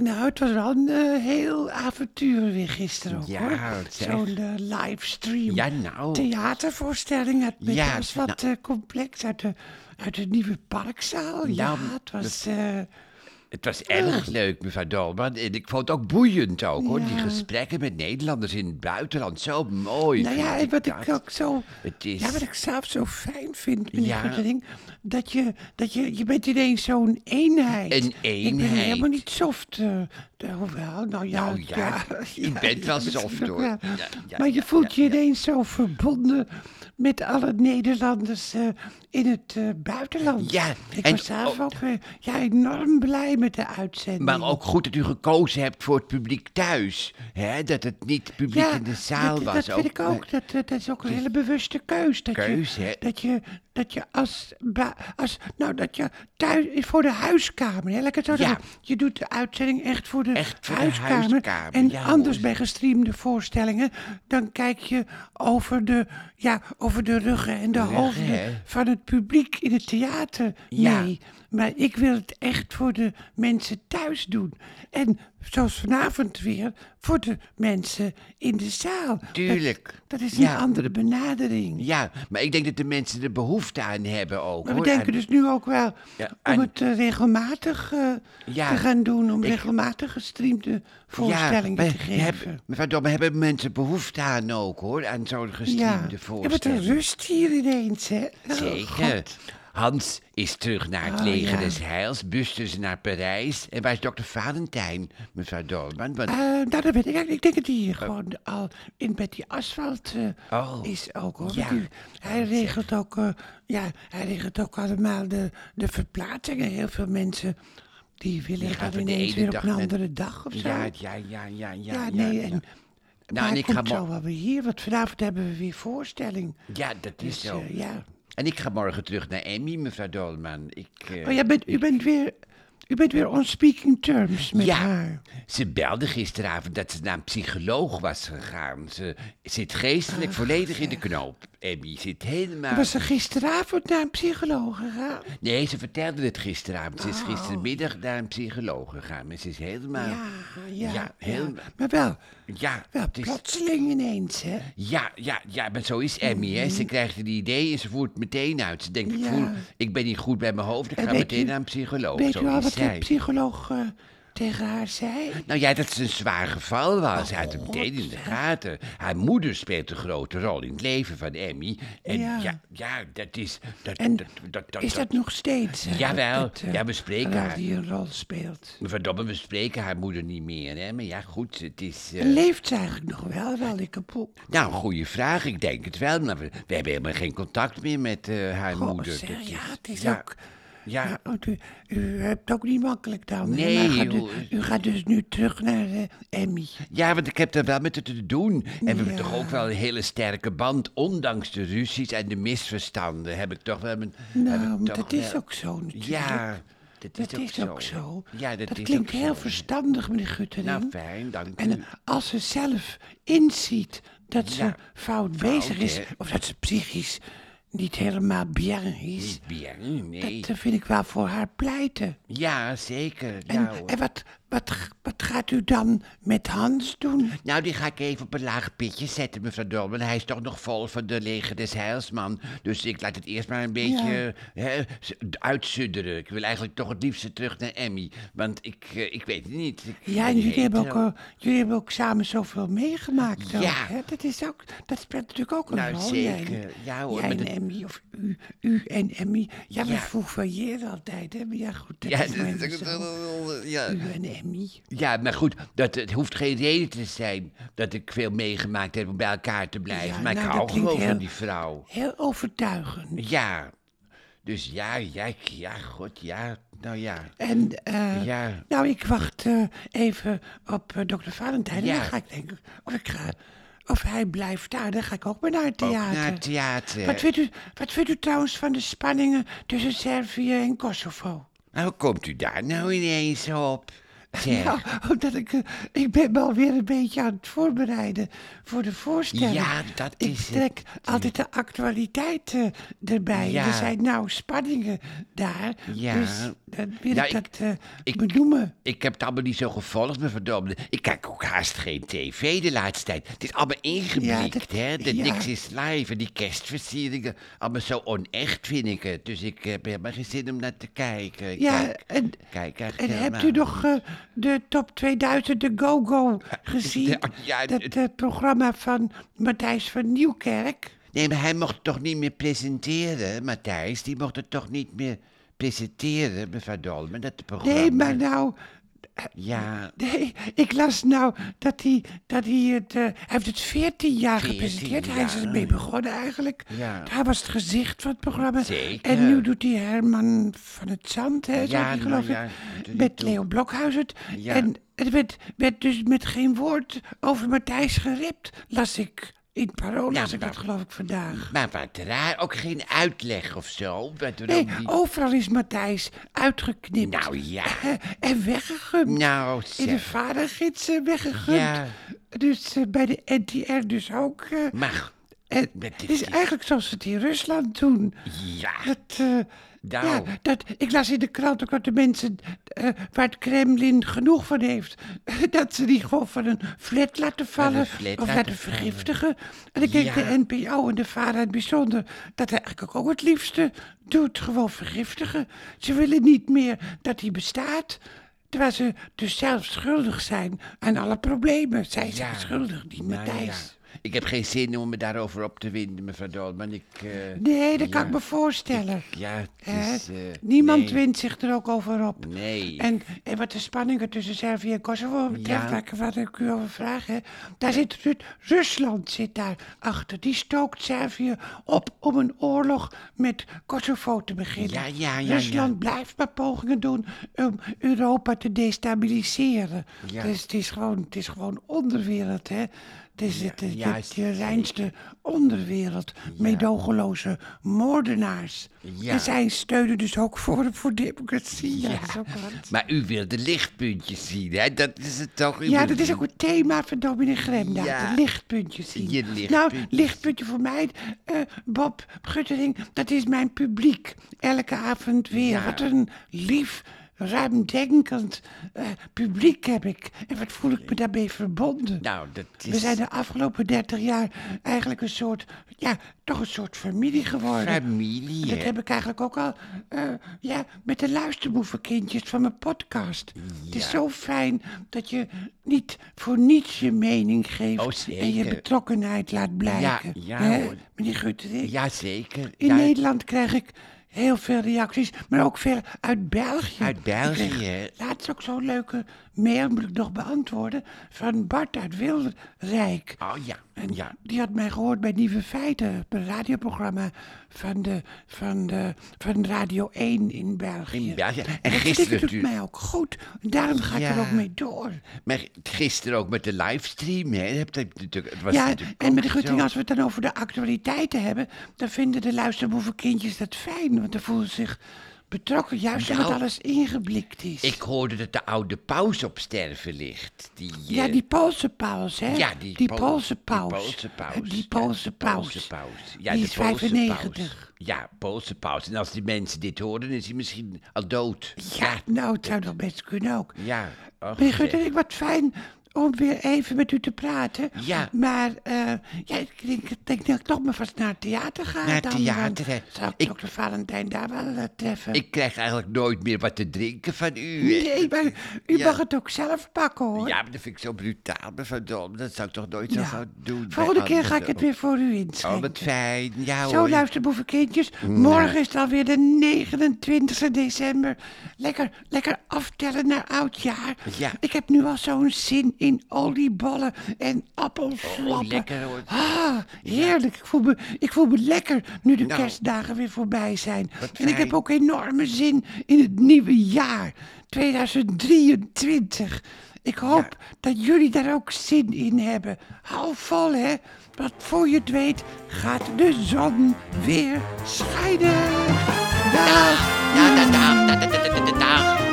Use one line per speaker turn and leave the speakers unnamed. Nou, het was wel een eh, heel avontuur weer gisteren ook,
Ja,
hoor.
zeg.
Zo'n eh, livestream.
Ja, nou.
Theatervoorstelling uit met
Ja,
ons wat
nou.
eh, complex uit de, uit de nieuwe parkzaal. ja,
Nou,
het was... eh,
Het was erg leuk, mevrouw Dolman. En ik vond het ook boeiend ook, hoor. Die
Ah. Ja.
gesprekken met Nederlanders in het buitenland. Zo mooi.
nou ja,
vind
en
ik
wat
dat.
ik ook zo...
Het is-
Ja, wat ik zelf zo fijn vind, meneer
Ja.
Goedering, dat je, dat je... Je bent ineens zo'n eenheid.
Een
Ik ben
eenheid.
helemaal niet soft. eh, eh, hoewel, nou ja...
Nou ja, je bent wel soft, hoor.
ja.
Ja, ja,
maar je
ja,
voelt
ja,
je ineens zo verbonden met alle Nederlanders eh, in het eh, buitenland.
Ja,
Ik
en-
was zelf
oh.
ook eh, ja, enorm blij met de uitzending.
Maar ook goed dat u gekozen hebt voor het publiek thuis. hè? dat het niet publiek in de zaal
dat,
was.
Dat vind ik ook.
maar-
Dat, eh, dat is ook een hele bewuste keus. Dat
Keus, hè?
je, dat je, dat je als, ba- als. Nou, dat je thuis is voor de huiskamer. Hè? Laat ik het zo
Ja.
zeggen. Je doet de uitzending echt voor de,
Echt voor de
huiskamer.
huiskamer,
En
ja,
anders
hoor.
bij gestreamde voorstellingen. dan kijk je over de, ja, over de ruggen en de
hè?
hoofden van het publiek in het theater.
Ja.
Nee. Maar ik wil het echt voor de mensen thuis doen. En zoals vanavond weer, voor de mensen in de zaal.
Tuurlijk.
Dat, dat is
Ja.
een andere benadering.
Ja, maar ik denk dat de mensen er behoefte aan hebben ook.
Maar we
hoor,
denken
aan-
dus nu ook wel
Ja,
om
aan-
het eh, regelmatig eh,
Ja,
te gaan doen. Om
ik-
regelmatig gestreamde voorstellingen
maar
te
je hebt-
geven.
mevrouw Dobbe, hebben mensen behoefte aan ook, hoor. Aan zo'n
Ja,
gestreamde
ja, wat een
voorstelling.
rust hier ineens, hè? Oh,
Zeker.
God.
Hans is terug naar het
Oh,
leger
ja.
des Heils, buste ze naar Parijs. En waar is dokter Valentijn, mevrouw Dolman? Want
Eh, nou, dat weet ik eigenlijk. Ik denk dat hij hier gewoon al in met die asfalt eh,
Oh.
is ook hoor.
Ja. Oh,
Want die- hij regelt ook, eh, ja, hij regelt ook allemaal de, de verplaatsingen. Heel veel mensen die willen
gaan
dan
van de
ineens
ene
weer op
dag
een
naar-
andere dag of zo.
ja, ja, ja, ja, ja,
Ja,
ja,
nee,
ja.
en-
Nou,
maar
en
hij
ik ga
komt
mo-
zo wel weer hier, want vanavond hebben we weer voorstelling.
Ja, dat
Dus,
is zo.
eh, ja.
En ik ga morgen terug naar Emmy, mevrouw Dolman. Ik, eh,
Maar Oh, jij bent, u, bent weer, u bent weer on speaking terms met
ja,
haar.
ze belde gisteravond dat ze naar een psycholoog was gegaan. Ze zit geestelijk volledig in de knoop. Emmy zit helemaal...
Was ze gisteravond naar een psycholoog gegaan?
Nee, ze vertelde het gisteravond. Ze is gistermiddag naar een psycholoog gegaan. En ze is helemaal...
Oh. Ja, ja,
ja, Dus- helemaal-
Maar wel,
Ja,
Wel,
het is-
plotseling ineens, hè?
Ja, ja, ja, maar zo is Emmy, hè. Ze krijgt een idee en ze voert het meteen uit. Ze denkt, ik,
Mhm. Ja.
voel, ik ben niet goed bij mijn hoofd, ik
En
ga
weet
meteen
u-
naar een psycholoog.
Weet
Oh, zo
u al
is
wat de
zij.
psycholoog eh, tegen haar zei?
Nou ja, dat het een zwaar geval was. Hij had
Oh,
hem meteen in de gaten. Haar moeder speelt een grote rol in het leven van Emmy. En ja,
Ja.
ja, dat is... Dat,
En
dat, dat, dat,
Is dat nog steeds? hè,
Jawel,
eh,
ja, we spreken
dat
haar.
die een rol speelt.
Verdomme, we spreken haar moeder niet meer, hè. Maar ja, goed, het is... eh,
En leeft ze eigenlijk nog wel, wel die kapot?
Nou, goede vraag. Ik denk het wel. Maar we, we hebben helemaal geen contact meer met eh, haar
Goh,
moeder.
zeg,
Dat is-
ja, het is
ja,
ook...
ja.
Ja, want u, u hebt ook niet makkelijk dan. hè,
Nee,
maar gaat
joh.
u, u gaat dus nu terug naar eh, Emmy.
Ja, want ik heb daar wel met het te doen. En we hebben
Ja.
toch ook wel een hele sterke band. Ondanks de ruzies en de misverstanden heb ik toch wel mijn... heb ik
Nou,
toch
dat is
wel-
ook zo natuurlijk.
Ja, dat is,
dat is ook zo.
Ja, dat, is
klinkt
ook zo.
heel verstandig, meneer Guttering.
Nou, fijn, dank
En
u.
als ze zelf inziet dat ze
Ja.
fout bezig is,
hè?
of dat ze psychisch niet helemaal bien is,
Bien, Hmm. nee.
dat eh, vind ik wel voor haar pleiten.
Ja, zeker.
En,
Ja, hoor.
en wat, wat, g- wat gaat u dan met Hans doen?
Nou, die ga ik even op een laag pitje zetten, mevrouw Dolman. Hij is toch nog vol van de leger des heils, man. Dus ik laat het eerst maar een beetje hè, z- uitzudderen. Ik wil eigenlijk toch het liefste terug naar Emmy. Want ik, eh, ik weet het niet. Ik-
Ja, en
die
jullie hebben, ook,
hetero-
eh, jullie hebben ook samen zoveel meegemaakt. ook,
Ja.
hè? Dat, is ook, dat speelt natuurlijk ook een
Nou,
rol. Jij,
zeker.
en-
Ja, hoor,
jij
maar
en
dat-
Emmy, of u, u en Emmy. Ja, we
Ja.
foefailleren altijd, hè? Maar ja, goed, dat
Ja,
is nou
dat-
eenmaal
dat-
zo.
dat- ja.
U en Emmy.
ja, maar goed, dat, het hoeft geen reden te zijn dat ik veel meegemaakt heb om bij elkaar te blijven.
Ja,
maar
nou,
ik
dat
hou
klinkt
gewoon van
heel-
die vrouw.
Heel overtuigend.
Ja, dus ja, ja, ik- ja, god, ja, nou ja.
En eh,
Ja.
nou, ik wacht eh, even op eh, dokter Valentijn.
Ja.
En dan ga ik denken, of, ik ga, of hij blijft daar, dan ga ik ook maar naar het
Ook
theater.
naar het theater.
Wat vindt, u, wat vindt u trouwens van de spanningen tussen Servië en Kosovo?
Nou, hoe komt u daar nou ineens op? Zeg.
Nou, omdat ik, eh, ik ben me alweer een beetje aan het voorbereiden voor de voorstelling.
Ja, dat
ik
is het.
trek altijd de actualiteit eh, erbij.
Ja.
Er zijn nou spanningen daar.
Ja.
Dus dan wil
Ja,
ik
ik-
dat eh,
ik-
benoemen.
Ik heb het allemaal niet zo gevolgd, me verdomme. Ik kijk ook haast geen tv de laatste tijd. Het is allemaal ingeblikt,
Ja, dat-
hè. Dat
ja.
niks is live. En die kerstversieringen, allemaal zo onecht vind ik het. Dus ik heb helemaal geen zin om naar te kijken. Ik
Ja,
kijk, nou,
en,
kijk echt
en hebt u
helemaal
nog eh, de top 2000, de Go-Go, gezien?
Ja, ja,
dat
het-
eh, programma van Matthijs van Nieuwkerk.
Nee, maar hij mocht het toch niet meer presenteren, Matthijs? Die mocht het toch niet meer presenteren, mevrouw Dolmen, dat programma?
Nee, maar nou,
Ja,
nee, ik las nou dat hij, dat hij het, eh, hij heeft het 14 jaar
14
gepresenteerd. Hij is
jaar.
ermee begonnen eigenlijk.
Ja.
Hij was het gezicht van het programma.
Zeker.
En nu doet hij Herman van het Zand, hè, zo
Ja,
die,
nou
geloof
ja,
ik,
doet hij
met
toe.
Leo Blokhuis het.
Ja.
En het werd, werd dus met geen woord over Matthijs gerept, las ik. In Parool las ik
maar-
dat geloof ik vandaag.
maar wat raar. Ook geen uitleg of zo. Wat
Nee, oh,
waarom die-
overal is Matthijs uitgeknipt.
Nou ja.
Eh, En weggegumd.
Nou,
in de
zeg.
vadergids eh, weggegund.
Ja.
Dus eh, bij de NTR dus ook. eh,
Mag.
en
dat
het
is
is eigenlijk zoals ze het in Rusland doen.
Ja.
Dat, eh,
Nou.
ja, dat, ik las in de krant ook dat de mensen eh, waar het Kremlin genoeg van heeft... dat ze die gewoon van een flat laten vallen
flat
of
laten
laten
vallen.
vergiftigen. En ik denk
Ja.
de NPO en de VARA in het bijzonder... dat hij eigenlijk ook het liefste doet, gewoon vergiftigen. Ze willen niet meer dat hij bestaat... Terwijl ze dus zelf schuldig zijn aan alle problemen. Zij zijn
Ja.
schuldig, niet
Nou ja.
Matthijs.
Ik heb geen zin om me daarover op te winden, mevrouw Dolman. Ik, eh,
Nee, dat kan
ja.
ik me voorstellen.
Ja, het
Hè?
is... eh,
Niemand
nee.
wint zich er ook over op.
Nee.
En, en wat de spanningen tussen Servië en Kosovo betreft,
Ja.
waar ik- waar ik u over vraag, hè, daar zit Ru- Rusland zit daar achter. Die stookt Servië op om een oorlog met Kosovo te beginnen.
Ja, ja, ja,
Rusland blijft maar pogingen doen om Europa te destabiliseren.
Ja.
Dus het is gewoon, het is gewoon onderwereld, hè. Het is het, het-
ja,
het- de reinste onderwereld. Meedogenloze moordenaars.
Ja.
En zij steunen dus ook voor, voor democratie. Ja, dat is ook wat.
Maar u wil de lichtpuntjes zien, hè? Dat is het toch? U
Ja,
wil-
dat is ook het thema van Dominic Gremda.
Ja.
De lichtpuntjes zien.
Je
Nou,
lichtpuntjes.
lichtpuntje voor mij, eh, Bob Guttering, dat is mijn publiek. Elke avond weer.
Ja.
Wat een lief, ruimdenkend eh, publiek heb ik. En wat voel ik me daarmee verbonden.
Nou, dat is...
We zijn de afgelopen 30 jaar eigenlijk een soort, ja, toch een soort familie geworden.
familie,
Dat
hè?
heb ik eigenlijk ook al eh, ja, met de luisterboevenkindjes van mijn podcast. Het is zo fijn dat je niet voor niets je mening
Oh,
geeft
zeker.
en je betrokkenheid laat blijken.
ja,
Hè,
hoor.
meneer Guttering?
Jazeker.
In
ja,
Nederland krijg ik heel veel reacties, maar ook veel uit België.
Uit België,
Ik kreeg
hè?
Laatst ook zo'n leuke mail, moet ik nog beantwoorden, van Bart uit Wilrijk.
Oh ja, ja.
Die had mij gehoord bij Nieuwe Feiten, een radioprogramma van, de, van, de, van Radio 1 in België.
In België. En
dat
gisteren
vind ik doet
natuurlijk-
mij ook goed. Daarom ga ik er
Ja.
ook mee door.
Maar gisteren ook met de livestream, hè? Heb je natuurlijk, het was
Ja,
natuurlijk
en met de
ook
Gutting,
zo.
als we het dan over de actualiteiten hebben, dan vinden de luisterboevenkindjes dat fijn, want dan voelen ze zich betrokken, juist omdat
Nou,
alles ingeblikt is.
Ik hoorde dat de oude paus op sterven ligt. Die,
ja,
eh,
die Poolse paus, hè?
Ja, die Pool-
Poolse
die
paus. Eh,
Poolse paus.
Die Poolse
Ja,
paus.
Poolse paus. Ja,
die
de
is
Poolse
95.
paus. Ja, Poolse paus. En als die mensen dit horen, is hij misschien al dood.
Ja, nou, het zou nog best kunnen ook.
Ja. och,
Meneer
zeg.
Guttering, wat fijn om weer even met u te praten.
Ja.
Maar eh, ja, ik denk, ik denk dat ik toch maar vast naar het theater ga.
Naar het
dan, want
theater, hè.
Zou ik,
Ik-
dokter Valentijn daar wel eh, treffen?
Ik krijg eigenlijk nooit meer wat te drinken van u. hè.
nee, maar u
Ja.
mag het ook zelf pakken, hoor.
Ja, maar dat vind ik zo brutaal, mevrouw Dom. Dat zou ik toch nooit zo
Ja.
gauw doen. bij
Volgende keer ga ik
anderen.
het weer voor u
Oh,
inschenken.
wat fijn. Ja,
Zo,
hoor.
luisterboevenkindjes, morgen is het alweer de 29 december. Lekker, lekker aftellen naar oudjaar.
Ja.
Ik heb nu al zo'n zin in oliebollen en appelflappen.
Oh, lekker, hoor.
Ah, heerlijk. Ik voel, me, ik voel me lekker nu de
Nou.
kerstdagen weer voorbij zijn. En ik
fijn.
heb ook enorme zin in het nieuwe jaar, 2023. Ik hoop dat jullie daar ook zin in hebben. Hou vol, hè. Want voor je het weet gaat de zon weer schijnen. Dag.
Ja, dag, dag, dag, dag, dag, dag, dag.